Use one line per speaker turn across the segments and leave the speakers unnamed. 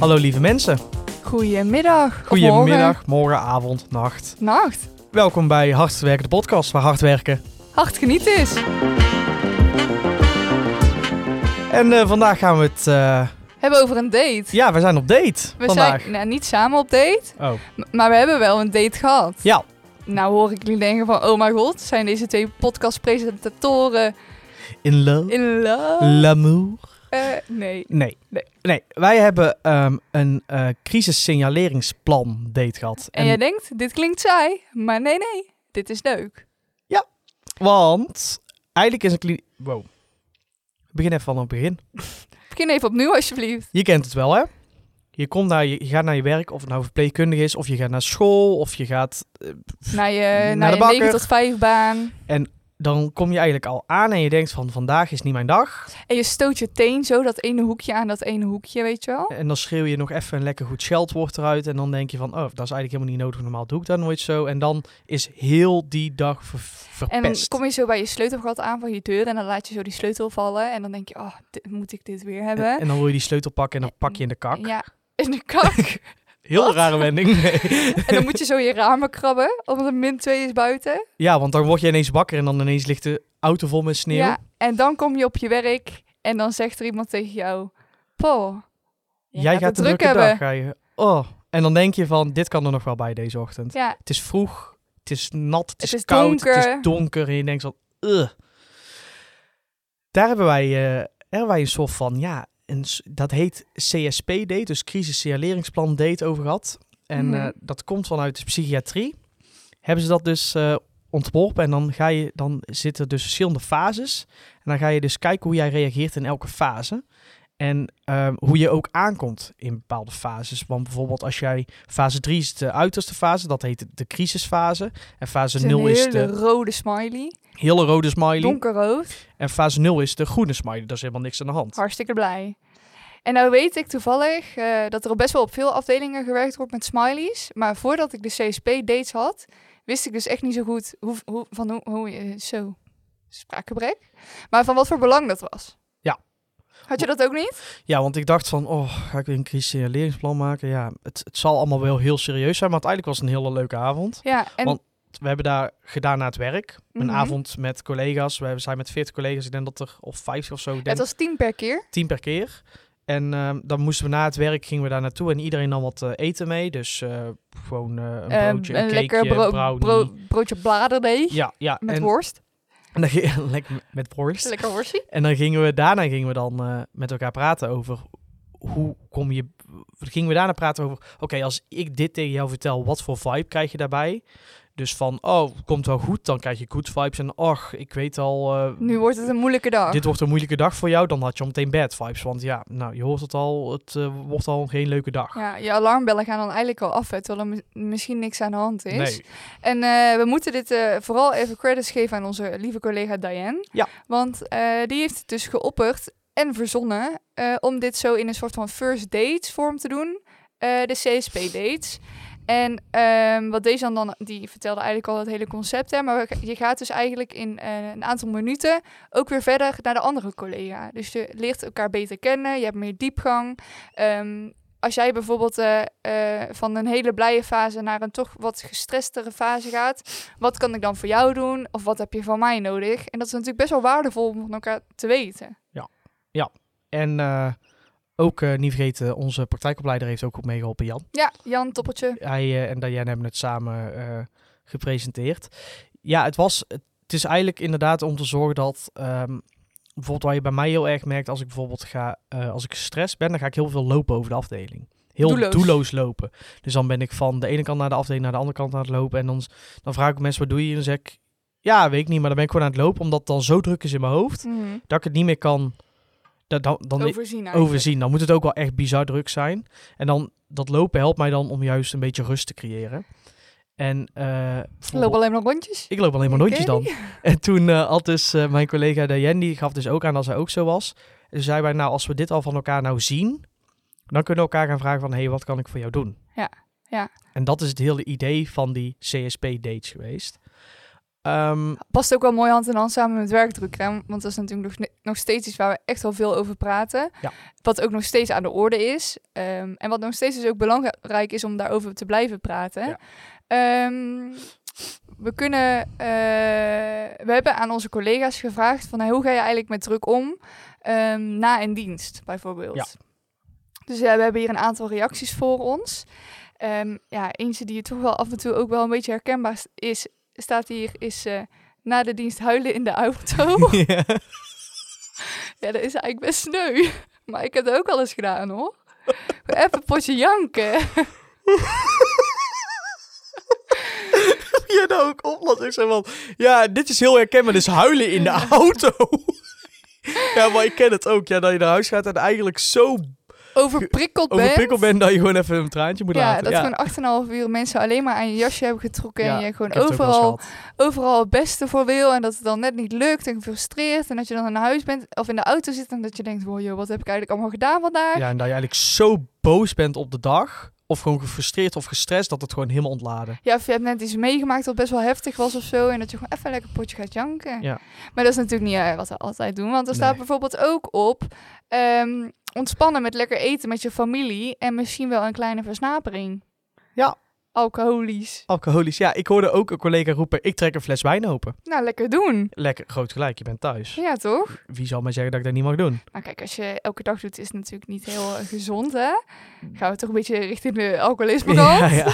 Hallo lieve mensen.
Goedemiddag. of morgen.
Goedemiddag, morgen, avond, nacht.
Nacht.
Welkom bij Hard Werken, de podcast waar hard werken.
Hard genieten is.
En eh, vandaag gaan we het... eh,
Hebben we over een date.
ja, we zijn op date
we
vandaag.
zijn nou, niet samen op date,
Oh.
m- maar we hebben wel een date gehad.
Ja,
Nou hoor ik jullie denken van, oh mijn god, zijn deze twee podcastpresentatoren
in love.
in love?
L'amour.
Eh, nee.
Nee.
Nee.
Nee, wij hebben ehm, een eh crisisssignaleringsplan date gehad.
En, jij denkt, dit klinkt saai, maar nee, nee, dit is leuk.
Want eigenlijk is een... kli- Wow. Ik begin even van het begin.
Begin even opnieuw alsjeblieft.
Je kent het wel, hè? Je, komt naar, je, je gaat naar je werk, of het nou verpleegkundige is, of je gaat naar school, of je gaat... eh, pff,
Naar je,
Naar
naar
de
je 9
bakker.
tot 5 baan.
dan kom je eigenlijk al aan en je denkt van, vandaag is niet mijn dag.
En je stoot je teen zo dat ene hoekje aan dat ene hoekje, weet je wel?
En dan schreeuw je nog even een lekker goed scheldwoord eruit. En dan denk je van, oh, dat is eigenlijk helemaal niet nodig. Normaal doe ik dat nooit zo. En dan is heel die dag ver-
En dan
verpest.
kom je zo bij je sleutelgat aan van je deur en dan laat je zo die sleutel vallen. En dan denk je, oh, dit- moet ik dit weer hebben?
en, en dan wil je die sleutel pakken en dan pak je in de kak.
Eh, Ja, in de kak.
heel
wat?
rare wending. Nee.
en dan moet je zo je ramen krabben, omdat het min 2 is buiten.
ja, want dan word je ineens wakker en dan ineens ligt de auto vol met sneeuw.
Ja, en dan kom je op je werk en dan zegt er iemand tegen jou, Paul, jij, gaat, het
een
druk
drukke
hebben.
dag, ga je. Oh, en dan denk je van, dit kan er nog wel bij deze ochtend.
Ja,
Het is vroeg, het is nat, het is,
is
koud, het is
donker.
donker. En je denkt van, ugh. Daar hebben wij, eh, daar hebben wij een soort van, ja, een, s- dat heet CSP-date, dus crisis signaleringsplan date over gehad. En
Mhm.
eh, dat komt vanuit de psychiatrie. Hebben ze dat dus eh, ontworpen en dan, ga je, dan zitten dus verschillende fases. En dan ga je dus kijken hoe jij reageert in elke fase. En ehm, hoe je ook aankomt in bepaalde fases. Want bijvoorbeeld als jij fase 3 is de uiterste fase, dat heet de crisisfase. En fase
het is een
0 is
hele
de
rode smiley,
hele rode smiley.
donkerrood,
En fase 0 is de groene smiley. Daar is helemaal niks aan de hand.
hartstikke blij. En nou weet ik toevallig eh, dat er al best wel op veel afdelingen gewerkt wordt met smileys. Maar voordat ik de CSP-dates had, wist ik dus echt niet zo goed hoe, hoe, van hoe, hoe je zo, spraakgebrek, maar van wat voor belang dat was.
Ja.
Had je dat ook niet?
Ja, want ik dacht van, oh, ga ik weer een crisisleringsplan maken? Ja, het, het zal allemaal wel heel serieus zijn, maar uiteindelijk was het een hele leuke avond.
Ja, en
Want- We hebben daar gedaan na het werk. Een
Mhm.
avond met collega's. We zijn met 40 collega's. Ik denk dat er, of 50 of zo, ik denk
het was tien per keer.
10 per keer. En ehm, dan moesten we na het werk, gingen we daar naartoe en iedereen nam wat eh, eten mee. Dus eh, gewoon eh,
Eh,
een broodje, een,
een
cakeje,
lekker bro-
brownie.
bro- broodje bladerdeeg
ja, ja.
met
en,
worst.
en dan ging- lekker met worst.
Lekker worstie.
En dan gingen we, daarna gingen we dan eh, met elkaar praten over hoe kom je... Gingen we daarna praten over, oké, als ik dit tegen jou vertel, wat voor vibe krijg je daarbij? Dus van, oh, komt wel goed, dan krijg je good vibes. En, och, ik weet al... eh,
Nu wordt het een moeilijke dag.
dit wordt een moeilijke dag voor jou, dan had je al meteen bad vibes. Want ja, nou, je hoort het al, het eh, wordt al geen leuke dag.
Ja, je alarmbellen gaan dan eigenlijk al af, hè, terwijl er mi- misschien niks aan de hand is.
nee,
En eh, we moeten dit eh, vooral even credits geven aan onze lieve collega Diane.
Ja.
Want eh, die heeft het dus geopperd en verzonnen eh, om dit zo in een soort van first dates vorm te doen. eh, de CSP dates. En ehm, wat deze dan, die vertelde eigenlijk al het hele concept. Hè, maar we ga- je gaat dus eigenlijk in eh, een aantal minuten ook weer verder naar de andere collega. Dus je leert elkaar beter kennen, je hebt meer diepgang. Ehm, als jij bijvoorbeeld eh, eh, van een hele blije fase naar een toch wat gestrestere fase gaat, wat kan ik dan voor jou doen? Of wat heb je van mij nodig? En dat is natuurlijk best wel waardevol om van elkaar te weten.
en eh, ook eh, niet vergeten, onze praktijkopleider heeft ook goed meegeholpen, Jan.
Ja, Jan, toppertje.
Hij eh, en Diane hebben het samen eh, gepresenteerd. Ja, het, was, het is eigenlijk inderdaad om te zorgen dat... ehm, bijvoorbeeld waar je bij mij heel erg merkt, als ik bijvoorbeeld ga... eh, als ik gestrest ben, dan ga ik heel veel lopen over de afdeling. Heel doelloos.
Doelloos.
lopen. Dus dan ben ik van de ene kant naar de afdeling, naar de andere kant aan het lopen. En dan, s- dan vraag ik mensen, wat doe je? En dan zeg ik, ja, weet ik niet, maar dan ben ik gewoon aan het lopen. Omdat het dan zo druk is in mijn hoofd,
Mhm.
dat ik het niet meer kan... Dat, dan, dan,
Overzien eigenlijk.
overzien. Dan moet het ook wel echt bizar druk zijn. En dan dat lopen helpt mij dan om juist een beetje rust te creëren. En eh,
Ik loop
bijvoorbeeld-
alleen maar rondjes.
ik loop alleen maar
Oké.
rondjes dan. En toen eh had dus eh, mijn collega Diane, die gaf dus ook aan dat zij ook zo was. En toen zei wij, nou als we dit al van elkaar nou zien, dan kunnen we elkaar gaan vragen van, hé, hey, wat kan ik voor jou doen?
Ja, ja.
En dat is het hele idee van die CSP-dates geweest. Ehm,
Past ook wel mooi hand in hand samen met werkdruk. Hè? Want dat is natuurlijk nog, nog steeds iets waar we echt wel veel over praten.
Ja.
Wat ook nog steeds aan de orde is. Ehm, en wat nog steeds dus ook belangrijk is om daarover te blijven praten.
Ja.
Ehm, we kunnen... eh, we hebben aan onze collega's gevraagd van... hey, hoe ga je eigenlijk met druk om ehm, na een dienst, bijvoorbeeld?
Ja.
Dus ja, we hebben hier een aantal reacties voor ons. Ehm, ja, eentje die toch wel af en toe ook wel een beetje herkenbaar s- is... staat hier, is... eh, na de dienst huilen in de auto.
ja.
ja, dat is eigenlijk best sneu. Maar ik heb het ook al eens gedaan hoor. Even een potje janken.
je dat ook oplost? Ik zei van, ja, dit is heel herkenbaar, dus huilen in de auto. ja, maar ik ken het ook. Ja, dat je naar huis gaat en eigenlijk zo
Overprikkeld ben.
overprikkeld bent dat je gewoon even een traantje moet
Ja,
laten.
dat gewoon 8,5 uur mensen alleen maar aan je jasje hebben getrokken.
Ja,
en je gewoon
ik heb het ook wel eens
overal,
gehad.
overal het beste voor wil. En dat het dan net niet lukt en gefrustreerd. En dat je dan naar huis bent of in de auto zit. En dat je denkt, wow joh, wat heb ik eigenlijk allemaal gedaan vandaag?
Ja, en dat je eigenlijk zo boos bent op de dag, of gewoon gefrustreerd of gestrest, dat het gewoon helemaal ontladen.
Ja, of je hebt net iets meegemaakt dat best wel heftig was of zo. En dat je gewoon even lekker een potje gaat janken.
Ja.
Maar dat is natuurlijk niet eh, wat we altijd doen. Want er staat
Nee.
bijvoorbeeld ook op... ehm, ontspannen met lekker eten met je familie. En misschien wel een kleine versnapering.
Ja.
Alcoholisch.
Alcoholisch, ja, ik hoorde ook een collega roepen, ik trek een fles wijn open.
Nou, lekker doen.
Lekker, groot gelijk, je bent thuis.
Ja, toch?
Wie zal mij zeggen dat ik dat niet mag doen?
Nou kijk, als je elke dag doet, is het natuurlijk niet heel eh, gezond, hè? Gaan we toch een beetje richting de alcoholisme dan?
Mm. Ja, ja.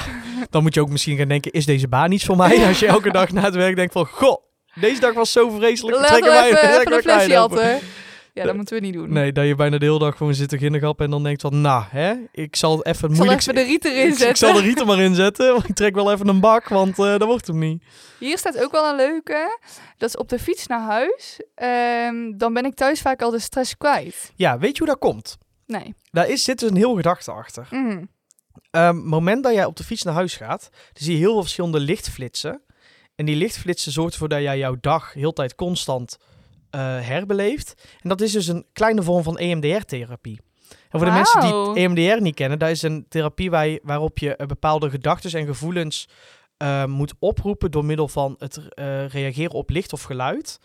Dan moet je ook misschien gaan denken, is deze baan niet voor mij? Als je elke dag na het werk denkt van, goh, deze dag was zo vreselijk.
Laten
trekken
we
wij-
even,
trekken
even een
wij
flesje
klein open.
jatten. Ja, dat moeten we niet doen.
Nee, dat je bijna de hele dag gewoon zit te ginnegap en dan denkt van, nou hè, ik zal het even
Ik zal
moeilijk...
even de riet erin
ik,
zetten.
ik zal de riet er maar in zetten, want ik trek wel even een bak, want eh dat wordt hem niet.
Hier staat ook wel een leuke. Dat is op de fiets naar huis. Ehm, dan ben ik thuis vaak al de stress kwijt.
Ja, weet je hoe dat komt?
Nee.
Daar is, zit dus een heel gedachte achter.
Mm.
Ehm, moment dat jij op de fiets naar huis gaat, dan zie je heel veel verschillende lichtflitsen. En die lichtflitsen zorgt ervoor dat jij jouw dag heel de tijd constant eh, herbeleeft. En dat is dus een kleine vorm van E EMDR-therapie. En voor de mensen
Wauw.
die E EMDR niet kennen, dat is een therapie waar- waarop je eh, bepaalde gedachten en gevoelens eh, moet oproepen door middel van het eh, reageren op licht of geluid.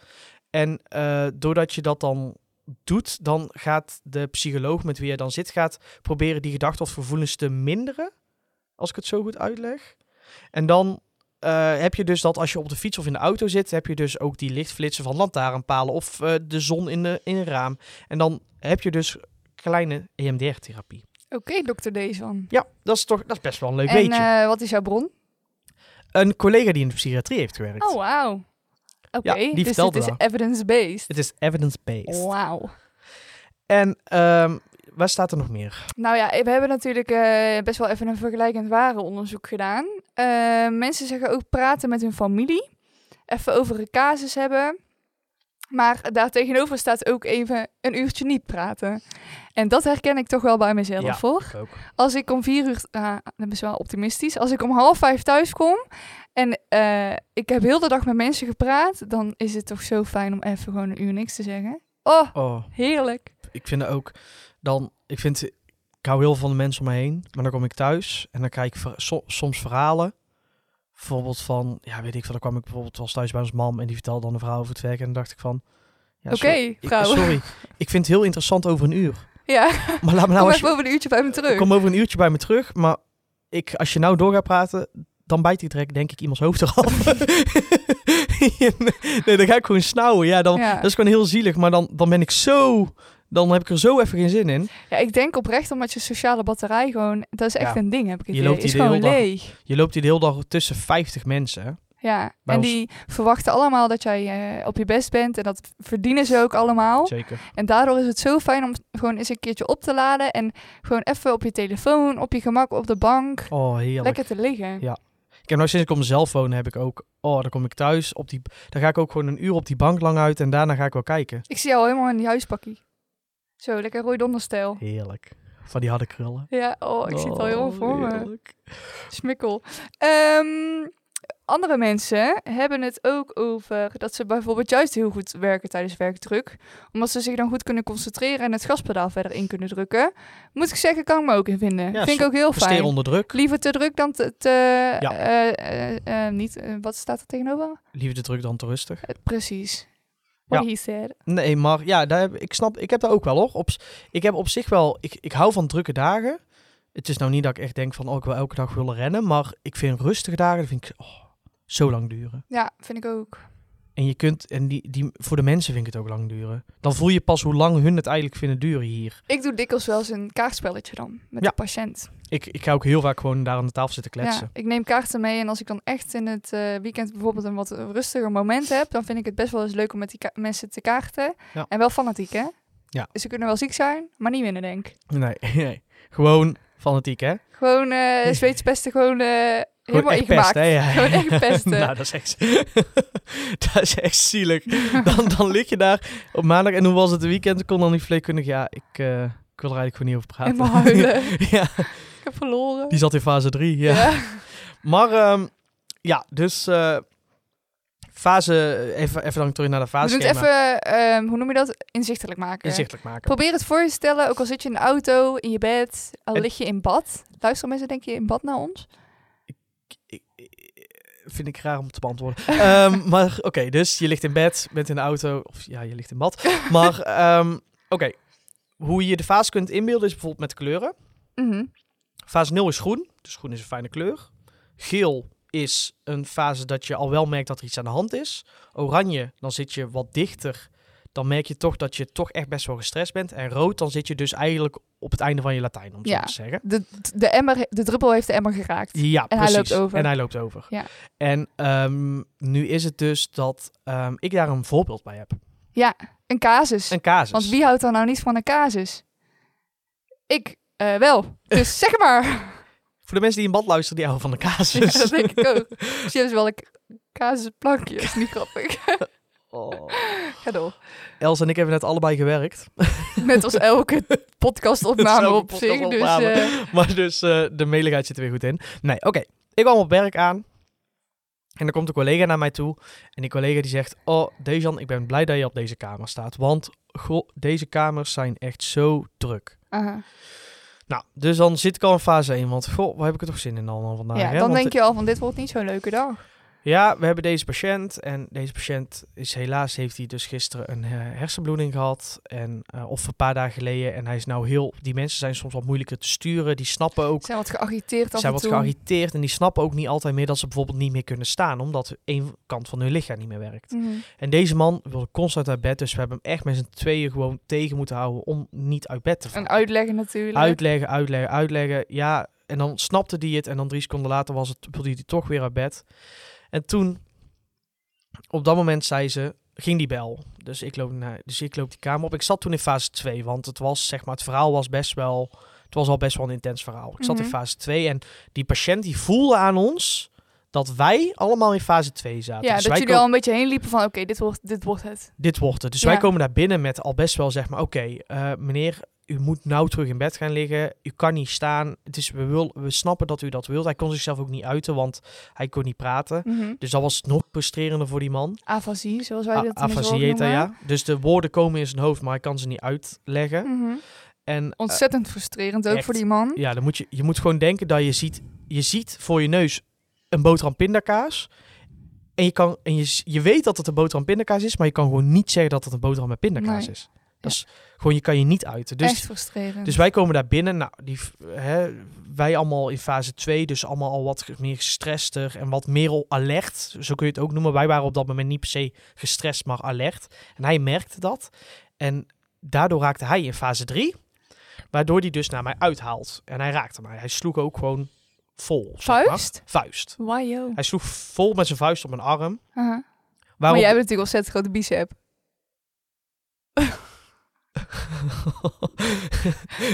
En eh, doordat je dat dan doet, dan gaat de psycholoog met wie je dan zit, gaat proberen die gedachten of gevoelens te minderen. Als ik het zo goed uitleg. En dan eh, heb je dus dat als je op de fiets of in de auto zit, heb je dus ook die lichtflitsen van lantaarnpalen of eh, de zon in, de, in een raam. En dan heb je dus kleine E EMDR-therapie.
Oké, dokter Deesan.
Ja, dat is toch dat is best wel een leuk
En
weetje.
eh, wat is jouw bron?
een collega die in de psychiatrie heeft gewerkt.
Oh, wauw. Oké,
die
dus
vertelde
dit is
dat.
evidence-based.
Het is evidence-based.
Wauw.
En ehm, waar staat er nog meer?
Nou ja, we hebben natuurlijk eh, best wel even een vergelijkend ware onderzoek gedaan. Eh, mensen zeggen ook praten met hun familie. Even over een casus hebben. Maar daartegenover staat ook even een uurtje niet praten. En dat herken ik toch wel bij mezelf
Ja.
hoor.
Ook.
Als ik om vier uur, ah, dat is wel optimistisch, als ik om half vijf thuis kom en eh, ik heb heel de dag met mensen gepraat, dan is het toch zo fijn om even gewoon een uur niks te zeggen. Oh,
Oh,
heerlijk.
ik vind dat ook dan. Ik vind. Ik hou heel veel van de mensen om me heen. Maar dan kom ik thuis en dan kijk ik ver- so- soms verhalen. Bijvoorbeeld van. Ja, weet ik veel. Dan kwam ik bijvoorbeeld wel eens thuis bij ons mam. En die vertelde dan een verhaal over het werk. En dan dacht ik van. Ja,
Oké,
so- ik-
vrouw.
sorry. Ik vind het heel interessant over een uur.
Ja,
Maar laat me nou
kom
als
even
je,
over een uurtje bij me terug.
kom over een uurtje bij me terug. Maar ik, als je nou door gaat praten. Dan bijt ik direct, denk ik, iemands hoofd eraf. nee, dan ga ik gewoon snauwen. Ja, dan,
Ja.
dat is gewoon heel zielig. Maar dan, dan ben ik zo... Dan heb ik er zo even geen zin in.
Ja, ik denk oprecht omdat je sociale batterij gewoon... Dat is echt
Ja.
een ding, heb ik het
Je
idee.
loopt
is
hier de
gewoon
hele dag-
leeg.
Je loopt hier de hele dag tussen 50 mensen. hè?
Ja,
Bij
en
ons-
die verwachten allemaal dat jij eh, op je best bent. En dat verdienen ze ook allemaal.
Zeker.
En daardoor is het zo fijn om gewoon eens een keertje op te laden. En gewoon even op je telefoon, op je gemak, op de bank.
Oh, heerlijk.
Lekker te liggen.
Ja. Ik heb nou sinds ik op mezelf woon, heb ik ook... Oh, dan kom ik thuis. Op die, dan ga ik ook gewoon een uur op die bank lang uit. En daarna ga ik wel kijken.
Ik zie jou helemaal in die huispakkie. Zo, lekker rooi donderstijl.
Heerlijk. Van die harde krullen.
Oh,
Oh,
Ja, oh, ik zie het al helemaal voor me.
heerlijk.
Smikkel. Ehm, andere mensen hebben het ook over dat ze bijvoorbeeld juist heel goed werken tijdens werkdruk. Omdat ze zich dan goed kunnen concentreren en het gaspedaal verder in kunnen drukken. Moet ik zeggen, kan ik me ook in vinden.
Ja,
Vind ik ook heel fijn.
Presteer onder druk.
Liever te druk dan te... te
Ja.
eh, eh, eh, niet, eh, wat staat er tegenover?
Liefde druk dan te rustig.
Eh, precies. What
Ja.
he said.
Nee, maar ja, daar heb, ik snap, ik heb dat ook wel hoor. Op, s- ik heb op zich wel, ik, ik hou van drukke dagen. Het is nou niet dat ik echt denk van, oh, ik wil elke dag willen rennen. Maar ik vind rustige dagen, dat vind ik oh, zo lang duren.
Ja, vind ik ook.
En je kunt, en die, die, voor de mensen vind ik het ook lang duren. Dan voel je pas hoe lang hun het eigenlijk vinden duren hier.
Ik doe dikwijls wel eens een kaartspelletje dan met
Ja.
de patiënt.
Ik, ik ga ook heel vaak gewoon daar aan de tafel zitten kletsen.
Ja, ik neem kaarten mee en als ik dan echt in het eh, weekend bijvoorbeeld een wat rustiger moment heb, dan vind ik het best wel eens leuk om met die ka- mensen te kaarten.
Ja.
En wel fanatiek, hè? Dus
Ja.
Ze kunnen wel ziek zijn, maar niet winnen, denk ik.
Nee, nee. gewoon fanatiek, hè?
Gewoon eh Zweedse pesten, gewoon, eh, helemaal
echt
ingemaakt.
pest, hè? Ja.
Gewoon echt pesten.
nou, dat is echt, dat is echt zielig. Dan, dan lig je daar op maandag en hoe was het de weekend? Ik kon dan niet vleekundig. Ja, ik, eh, ik wil er eigenlijk gewoon niet over praten.
En maar huilen.
ja,
ik heb verloren.
die zat in fase 3. Ja.
Ja.
Maar ehm, ja, dus eh, fase, even, even dan terug naar de
We
fase.
moeten even, ehm, hoe noem je dat? Inzichtelijk maken.
inzichtelijk maken.
Probeer het voor je te stellen, ook al zit je in de auto, in je bed, al
En-
lig je in bad. Luister mensen, denk je in bad naar ons?
Ik- ik- Vind ik raar om te beantwoorden. Ehm, maar oké, dus je ligt in bed, bent in de auto. Of ja, je ligt in bad. Maar ehm, oké, hoe je de fase kunt inbeelden is bijvoorbeeld met kleuren.
Mhm.
Fase 0 is groen, dus groen is een fijne kleur. Geel is een fase dat je al wel merkt dat er iets aan de hand is. Oranje, dan zit je wat dichter. Dan merk je toch dat je toch echt best wel gestrest bent. En rood, dan zit je dus eigenlijk op het einde van je Latijn, om het
Ja.
zo te zeggen.
De, de, emmer, de druppel heeft de emmer geraakt.
Ja,
En hij
precies.
loopt over.
En hij loopt over.
Ja.
En ehm, nu is het dus dat ehm, ik daar een voorbeeld bij heb.
Een casus.
Een casus.
Want wie houdt er nou niet van een casus? Ik eh, wel. Dus zeg maar.
Voor de mensen die in bad luisteren, die houden van een
Ja,
casus.
dat denk ik ook. Misschien hebben ze wel een k- casusplankje. is niet grappig.
Oh.
Ga door.
Els en ik hebben net allebei gewerkt.
Net als elke
Dat is
podcastopname
elke
op zich. Dus
podcastopname.
eh,
Maar dus eh, de meligheid zit er weer goed in. Nee, oké. Ik kwam op werk aan. En er komt een collega naar mij toe. En die collega die zegt... Oh, Dejan, ik ben blij dat je op deze kamer staat. Want goh, deze kamers zijn echt zo druk.
aha.
Nou, dus dan zit ik al in fase 1. Want goh, waar heb ik er toch zin in allemaal vandaag.
ja,
hè?
dan
Want,
denk je al van dit wordt niet zo'n leuke dag.
Ja, we hebben deze patiënt. En deze patiënt is helaas, heeft hij dus gisteren een eh, hersenbloeding gehad. En, eh, of een paar dagen geleden. En hij is nou heel. Die mensen zijn soms wat moeilijker te sturen. Die snappen ook.
Ze zijn wat geagiteerd af
zijn
en
wat
toe.
geagiteerd. En die snappen ook niet altijd meer dat ze bijvoorbeeld niet meer kunnen staan. Omdat één kant van hun lichaam niet meer werkt.
Mhm.
En deze man wilde constant uit bed. Dus we hebben hem echt met z'n tweeën gewoon tegen moeten houden. Om niet uit bed te vallen.
En uitleggen natuurlijk.
Uitleggen, uitleggen, uitleggen. Ja, en dan snapte die het. En dan drie seconden later was het, wilde hij toch weer uit bed. En toen, op dat moment zei ze, ging die bel. Dus ik loop, naar, dus ik loop die kamer op. Ik zat toen in fase 2, want het was, zeg maar, het verhaal was best wel... Het was al best wel een intens verhaal. Ik zat
Mhm.
in fase 2 en die patiënt die voelde aan ons dat wij allemaal in fase 2 zaten.
ja,
Dus
dat
wij
jullie al een beetje heen liepen van oké, dit, wordt, dit wordt het.
dit wordt het. Dus
Ja.
wij komen daar binnen met al best wel zeg maar, oké, eh, meneer, u moet nou terug in bed gaan liggen. U kan niet staan. Het is, we, wil, we snappen dat u dat wilt. Hij kon zichzelf ook niet uiten, want hij kon niet praten.
Mhm.
Dus dat was nog frustrerender voor die man.
Afasie, zoals wij
A-
dat in de zorg
Afasie heet dat,
noemen.
ja. Dus de woorden komen in zijn hoofd, maar hij kan ze niet uitleggen.
Mhm.
En eh,
Ontzettend frustrerend ook
echt.
voor die man.
ja, dan moet je, je moet gewoon denken dat je ziet, je ziet voor je neus een boterham pindakaas. En, je, kan, en je, s- je weet dat het een boterham pindakaas is, maar je kan gewoon niet zeggen dat het een boterham met pindakaas
Nee.
is. Dat is gewoon, je kan je niet uiten.
Echt
Dus,
frustrerend.
dus wij komen daar binnen. Nou, die, f- hè, wij allemaal in fase 2, dus allemaal al wat meer gestrester en wat meer al alert. Zo kun je het ook noemen. Wij waren op dat moment niet per se gestrest, maar alert. En hij merkte dat. En daardoor raakte hij in fase 3. Waardoor hij dus naar mij uithaalt. En hij raakte mij. Hij sloeg ook gewoon vol. zeg maar.
Vuist?
Vuist.
Why yo?
Hij sloeg vol met zijn vuist op mijn arm.
Aha. Maar
Waarom?
jij hebt natuurlijk ontzettend grote bicep.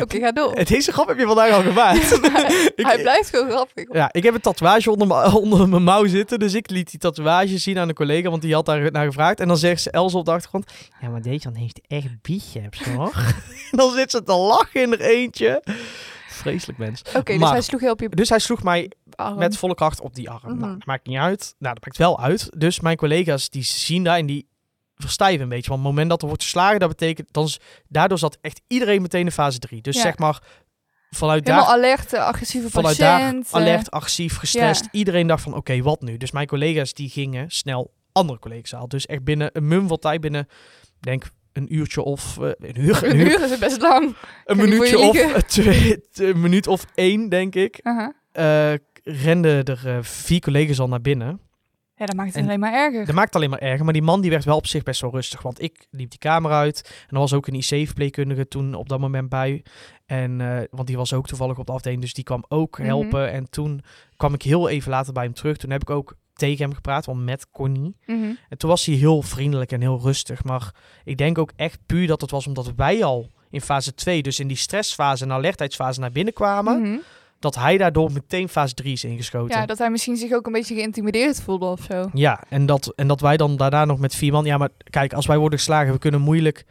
Oké, ga door.
Deze grap heb je vandaag al gemaakt.
Ja, maar
Ik-
Hij blijft gewoon grappig.
Ja, ik heb een tatoeage onder, mijn- onder mijn mouw zitten. Dus ik liet die tatoeage zien aan een collega, want die had daar naar gevraagd. En dan zegt ze Els op de achtergrond: Ja, maar deze man heeft echt biceps hoor. en dan zit ze te lachen in er eentje. Vreselijk mens.
Oké, dus
Maar-
hij sloeg heel op je
Dus hij sloeg mij
arm.
met volle kracht op die arm. Nou,
Oh. Mhm.
dat maakt niet uit. Nou, dat maakt wel uit. Dus mijn collega's die zien dat en die verstijven een beetje. Want op het moment dat er wordt geslagen, dat betekent... Dan, is- daardoor zat echt iedereen meteen in fase 3. Dus
Ja.
zeg maar, vanuit
Helemaal
daar...
alert, eh, agressieve
Vanuit daar
patiënt. eh,
alert, agressief, gestrest. Iedereen dacht van, oké, wat nu? Dus mijn collega's die gingen snel andere collega's halen. Dus echt binnen een mum van tijd, binnen, denk een uurtje of... eh, een uur,
Een uur is het best lang.
een
die
minuutje
moet
of
je
eh, twee, een minuut of één, denk ik,
Aha.
eh, renden er eh, vier collega's al naar binnen.
Ja, dat maakt het
En-
alleen maar erger.
Dat maakt het alleen maar erger, maar die man die werd wel op zich best wel rustig. Want ik liep die kamer uit en er was ook een IC-verpleegkundige toen op dat moment bij. En, eh, want die was ook toevallig op de afdeling, dus die kwam ook
Mhm.
helpen. En toen kwam ik heel even later bij hem terug. Toen heb ik ook tegen hem gepraat, want met Connie.
Mhm.
En toen was hij heel vriendelijk en heel rustig. Maar ik denk ook echt puur dat het was omdat wij al in fase 2, dus in die stressfase en alertheidsfase naar binnen kwamen,
Mhm.
dat hij daardoor meteen fase 3 is ingeschoten.
Ja, dat hij misschien zich ook een beetje geïntimideerd voelde of zo.
Ja, en dat, en dat wij dan daarna nog met vier man... Ja, maar kijk, als wij worden geslagen, we kunnen moeilijk...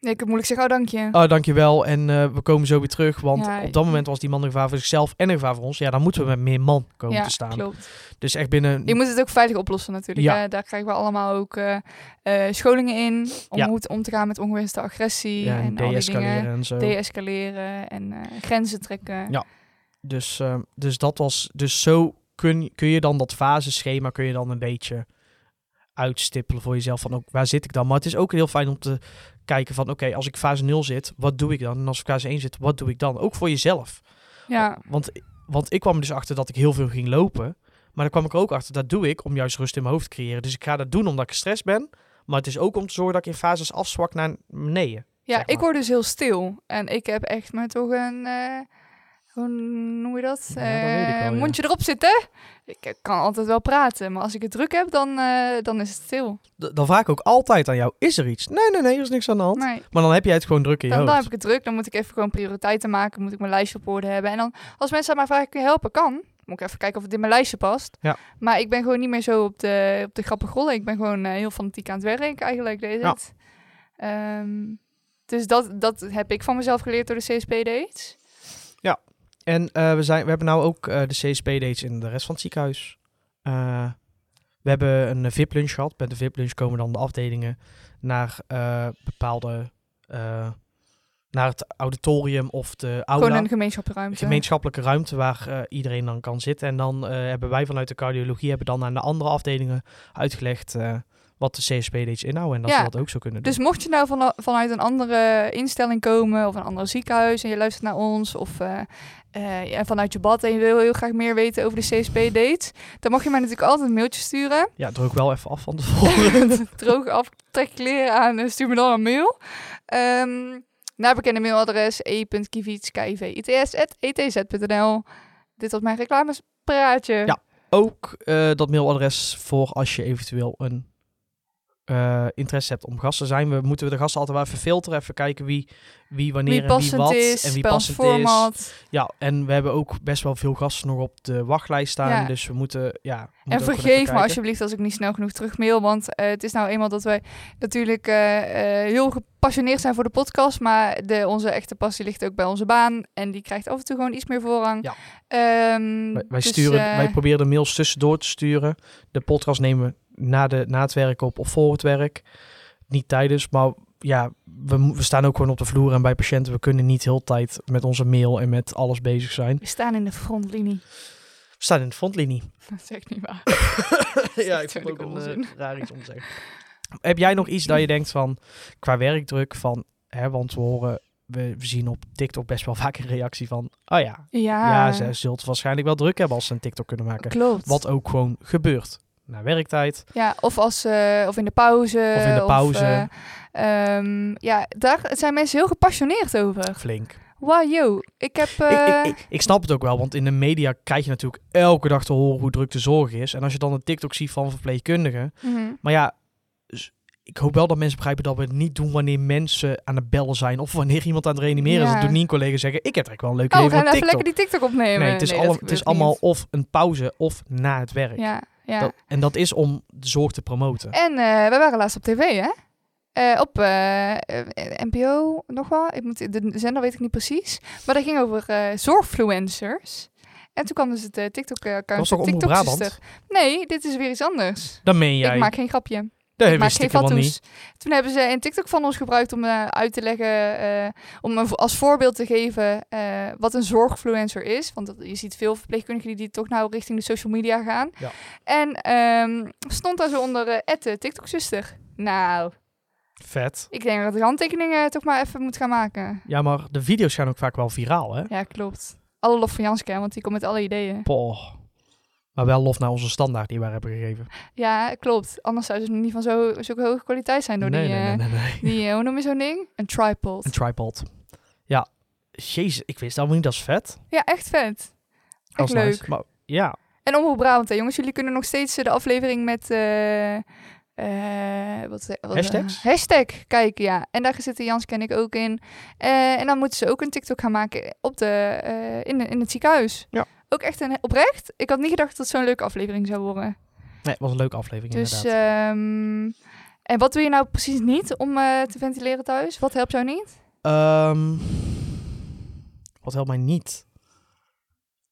Nee, ik heb moeilijk zeggen, oh dank je.
Oh, dankjewel en eh, we komen zo weer terug. Want
Ja,
op dat moment was die man een gevaar voor zichzelf en een gevaar voor ons. Ja, dan moeten we met meer man komen
ja,
te staan.
klopt.
Dus echt binnen...
Je moet het ook veilig oplossen natuurlijk.
Ja.
hè. Daar krijgen we allemaal ook eh, eh, scholingen in. Om
Ja.
hoe te om te gaan met ongewenste agressie.
ja,
en
en
al die dingen.
deescaleren en zo.
Deescaleren en eh, grenzen trekken.
Ja. Dus, eh, dus dat was. Dus zo kun, kun je dan dat faseschema kun je dan een beetje uitstippelen voor jezelf. Van ook, waar zit ik dan? Maar het is ook heel fijn om te kijken van oké, als ik fase 0 zit, wat doe ik dan? En als ik fase 1 zit, wat doe ik dan? Ook voor jezelf.
Ja.
Want, want ik kwam er dus achter dat ik heel veel ging lopen. Maar dan kwam ik er ook achter, dat doe ik om juist rust in mijn hoofd te creëren. Dus ik ga dat doen omdat ik gestrest ben. Maar het is ook om te zorgen dat ik in fases afzwak naar beneden.
Ja,
zeg
ik
maar.
word dus heel stil. En ik heb echt maar toch een... eh, hoe noem je dat?
Ja, dat weet ik
Eh,
wel, ja.
Mondje erop zitten. Ik eh, kan altijd wel praten. Maar als ik het druk heb, dan, eh, dan is het stil.
D- dan vaak ook altijd aan jou, is er iets? Nee, nee, nee, er is niks aan de hand.
Nee.
Maar dan heb jij het gewoon druk in je
Dan, dan
hoofd.
heb ik het druk. Dan moet ik even gewoon prioriteiten maken. Moet ik mijn lijstje op orde hebben. En dan als mensen aan mij vragen, kun je helpen? Kan. Moet ik even kijken of het in mijn lijstje past.
Ja.
Maar ik ben gewoon niet meer zo op de, op de grappige rollen. Ik ben gewoon eh, heel fanatiek aan het werk eigenlijk. Deed
Ja.
het. Ehm, dus dat, dat heb ik van mezelf geleerd door de CSP-dates.
En eh, we, zijn, we hebben nou ook eh, de CSP-dates in de rest van het ziekenhuis. Eh, we hebben een eh, VIP-lunch gehad. Bij de VIP-lunch komen dan de afdelingen naar eh, bepaalde... eh, naar het auditorium of de
Gewoon
aula.
een gemeenschappelijke ruimte.
gemeenschappelijke ruimte waar eh, iedereen dan kan zitten. En dan eh, hebben wij vanuit de cardiologie hebben dan aan de andere afdelingen uitgelegd eh, wat de CSP-dates inhouden. En dat
Ja.
ze dat ook zo kunnen doen.
Dus mocht je nou van, vanuit een andere instelling komen of een ander ziekenhuis en je luistert naar ons of eh, eh, ja, vanuit je bad en je wil heel graag meer weten over de CSP-dates, dan mag je mij natuurlijk altijd een mailtje sturen.
Ja, druk wel even af van tevoren.
Droog af, trek je kleren aan en stuur me dan een mail. Ehm naar bekende mailadres e e.kiviets.kiv.its.etz.nl Dit was mijn reclamespraatje.
Ja. ook eh, dat mailadres voor als je eventueel een eh, interesse hebt om gast te zijn. We moeten we de gasten altijd wel even filteren, even kijken wie, wie wanneer
Wie
en wie
passend
wat
is,
en wie
bij ons
passend is.
format.
Ja, en we hebben ook best wel veel gasten nog op de wachtlijst staan,
Ja.
dus we moeten ja. we moeten
En
ook gewoon
vergeef
even
me
kijken.
alsjeblieft als ik niet snel genoeg terugmail. Want eh, het is nou eenmaal dat wij natuurlijk eh, eh, heel gepassioneerd zijn voor de podcast. Maar de, onze echte passie ligt ook bij onze baan. En die krijgt af en toe gewoon iets meer voorrang.
Ja.
Ehm,
Wij, wij
dus,
sturen,
eh,
wij proberen de mails tussendoor te sturen. De podcast nemen we na, de, na het werk op of voor het werk. Niet tijdens, maar ja, we, mo- we staan ook gewoon op de vloer en bij patiënten. We kunnen niet heel de tijd met onze mail en met alles bezig zijn.
we staan in de frontlinie.
We staan in de frontlinie.
Dat is echt niet waar.
ja, ik vond
Natuurlijk
ook een
onzin.
eh, raar iets om te zeggen. Heb jij nog iets dat je denkt van, qua werkdruk, van, hè, want we horen, we we zien op TikTok best wel vaak een reactie van, oh ja,
Ja,
ja, ze zult het waarschijnlijk wel druk hebben als ze een TikTok kunnen maken.
klopt.
Wat ook gewoon gebeurt. Na werktijd.
Ja, of, als, eh, of in de pauze.
Of in de pauze.
eh, ehm, ja, daar zijn mensen heel gepassioneerd over.
Flink.
Wow, yo. Ik heb...
Ik,
eh,
ik, ik, ik snap het ook wel, want in de media krijg je natuurlijk elke dag te horen hoe druk de zorg is. En als je dan een TikTok ziet van verpleegkundigen.
mhm.
Maar ja, dus ik hoop wel dat mensen begrijpen dat we het niet doen wanneer mensen aan het bellen zijn. Of wanneer iemand aan het reanimeren is.
Ja.
Dat doen niet collega's zeggen, ik heb er echt wel een leuke
Oh, we
leven
gaan
op
even
TikTok.
lekker die TikTok opnemen.
Nee, het is,
dat
allemaal, het
gebeurt
is allemaal
niet.
of een pauze of na het werk.
Ja, ja.
Dat- en dat is om de zorg te promoten.
En eh wij waren laatst op tv, hè? eh, op eh, eh, NPO, nog wel. Ik moet, de zender weet ik niet precies. Maar dat ging over eh, zorgfluencers. En toen kwam dus het eh,
Dat was
TikTok-account.
toch
TikTok
Omroep Brabant?
zuster. Nee, dit is weer iets anders.
Dat meen jij.
Ik maak geen grapje.
dat
ik
heb ik
maak geen
stiekem wel niet.
fatsoens. Toen hebben ze een TikTok van ons gebruikt om eh, uit te leggen, eh, om een vo- als voorbeeld te geven eh, wat een zorgfluencer is. Want dat- je ziet veel verpleegkundigen die, die toch nou richting de social media gaan.
Ja.
En ehm, stond daar zo onder eh ette TikTok-zuster. Nou,
Vet.
ik denk dat de handtekeningen eh, toch maar even moet gaan maken.
Ja, maar de video's gaan ook vaak wel viraal, hè?
Ja, klopt. Alle lof van Janske, hè, want die komt met alle ideeën.
Poh. Maar wel lof naar onze standaard die we hebben gegeven.
Ja, klopt. Anders zou ze niet van zo, zulke hoge kwaliteit zijn door
nee,
die,
nee,
eh
nee, nee, nee.
die eh, hoe noem je zo'n ding? Een tripod.
Een tripod. Ja. Jezus, ik wist allemaal niet, dat is vet.
Ja, echt vet.
Dat
Echt
is
leuk.
nice. Maar, ja,
En Omroep Brabant, hè, jongens. Jullie kunnen nog steeds eh, de aflevering met... eh, eh, wat, eh, wat, eh,
Hashtags?
hashtag kijken, ja. En daar zitten Janske en ik ook in. Eh, en dan moeten ze ook een TikTok gaan maken op de, eh, in, in het ziekenhuis.
Ja.
Ook echt een, oprecht. Ik had niet gedacht dat het zo'n leuke aflevering zou worden.
nee, het was een leuke aflevering
Dus...
inderdaad.
ehm, en wat doe je nou precies niet om eh, te ventileren thuis? Wat helpt jou niet?
Ehm, wat helpt mij niet?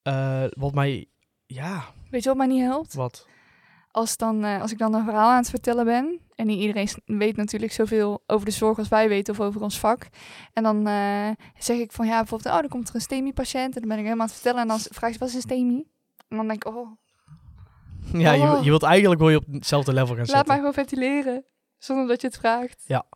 Eh, wat mij... Ja,
Weet je wat mij niet helpt?
wat?
als, dan, eh, als ik dan een verhaal aan het vertellen ben. En niet iedereen s- weet natuurlijk zoveel over de zorg als wij weten of over ons vak. En dan eh, zeg ik van ja, bijvoorbeeld, oh, dan komt er een STEMI-patiënt. En dan ben ik helemaal aan het vertellen. En dan s- vraagt ze, wat is een STEMI? En dan denk ik, oh,
Ja, je,
Oh.
je wilt eigenlijk wil je op hetzelfde level gaan
laat
zitten.
mij gewoon ventileren. Zonder dat je het vraagt.
Ja,
maar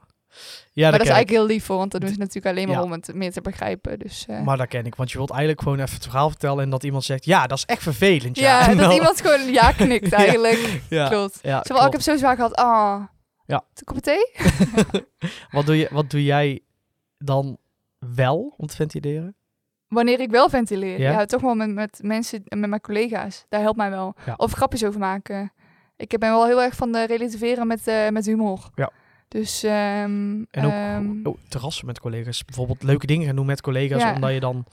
dat is
ken ik.
eigenlijk heel lief hoor, want dat doen ze natuurlijk alleen maar
Ja.
om het meer te begrijpen. Dus, eh,
Maar dat ken ik, want je wilt eigenlijk gewoon even het verhaal vertellen en dat iemand zegt, ja, dat is echt vervelend. Ja,
ja,
En
dat
dan-
iemand gewoon een ja knikt
Ja.
eigenlijk.
Ja,
Klopt.
ja,
Zo, van, oh, ik heb
klopt.
zo zwaar gehad. Ah,
Ja.
een kopje thee?
wat, doe je, wat doe jij dan wel om te ventileren?
Wanneer ik wel ventileer.
Ja?
Ja, toch wel met, met mensen, met mijn collega's. Daar helpt mij wel.
Ja.
Of grapjes over maken. Ik ben wel heel erg van de relativeren met, eh, met humor.
Ja.
Dus, ehm,
En ook
ehm,
oh, terrassen met collega's. Bijvoorbeeld leuke dingen gaan doen met collega's,
Ja.
omdat je dan...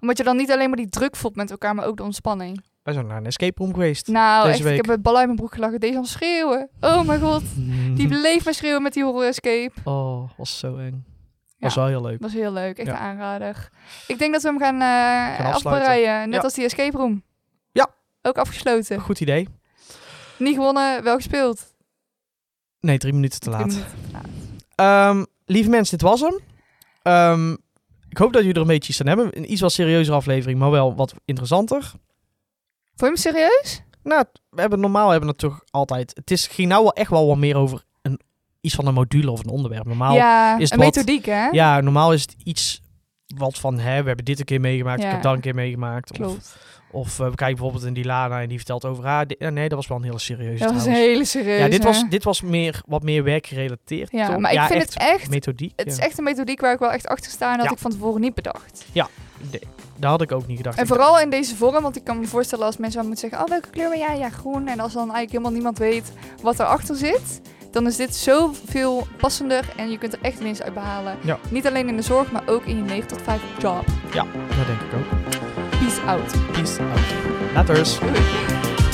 omdat je dan niet alleen maar die druk voelt met elkaar, maar ook de ontspanning.
Wij zijn naar een escape room geweest.
Nou,
Deze
echt,
week.
ik heb het bal uit mijn broek gelachen. Deze aan het schreeuwen. Oh mijn god. Die
Mhm.
bleef maar schreeuwen met die horror escape.
Oh, was zo eng.
Ja.
Was wel heel leuk.
Dat was heel leuk. Echt
Ja.
een aanrader. Ik denk dat we hem gaan, eh
Gaan afsluiten.
afbereiden. Net
Ja.
als die escape room.
Ja.
Ook afgesloten.
Goed idee.
Niet gewonnen, wel gespeeld.
Nee, drie minuten te laat.
Drie minuten te laat.
Ehm, lieve mensen, dit was hem. Ehm, ik hoop dat jullie er een beetje iets aan hebben. Een iets wat serieuzere aflevering, maar wel wat interessanter.
Vond je hem serieus?
Nou, we hebben normaal hebben we het toch altijd. Het is, ging nou wel echt wel wat meer over een, iets van een module of een onderwerp. Normaal, ja.
ja,
Nou, is
een
het wat-
methodiek, hè?
normaal is het iets wat van, hè, we hebben dit een keer meegemaakt, ik
Ja.
heb dat een keer meegemaakt. Of,
Klopt.
of eh, we kijken bijvoorbeeld in die Lana en die vertelt over haar. di- ja, nee, dat was wel een hele serieuze.
Dat was een
trouwens.
hele serieus.
ja, dit was,
hè?
dit was meer, wat meer werkgerelateerd.
Ja,
toch?
maar ik vind
echt
het echt...
Methodiek.
Het is
ja.
echt een methodiek waar ik wel echt achter sta en dat
Ja.
ik van tevoren niet bedacht.
Nee, dat had ik ook niet gedacht.
En
Ik-
vooral in deze vorm, want ik kan me voorstellen als mensen aan moeten zeggen, oh welke kleur ben jij? Ja, groen. En als dan eigenlijk helemaal niemand weet wat erachter zit, dan is dit zoveel passender en je kunt er echt winst uit behalen.
Ja.
Niet alleen in de zorg, maar ook in je 9 tot 5 job.
Ja, dat denk ik ook.
Peace out.
Peace out. Laters.
Doei.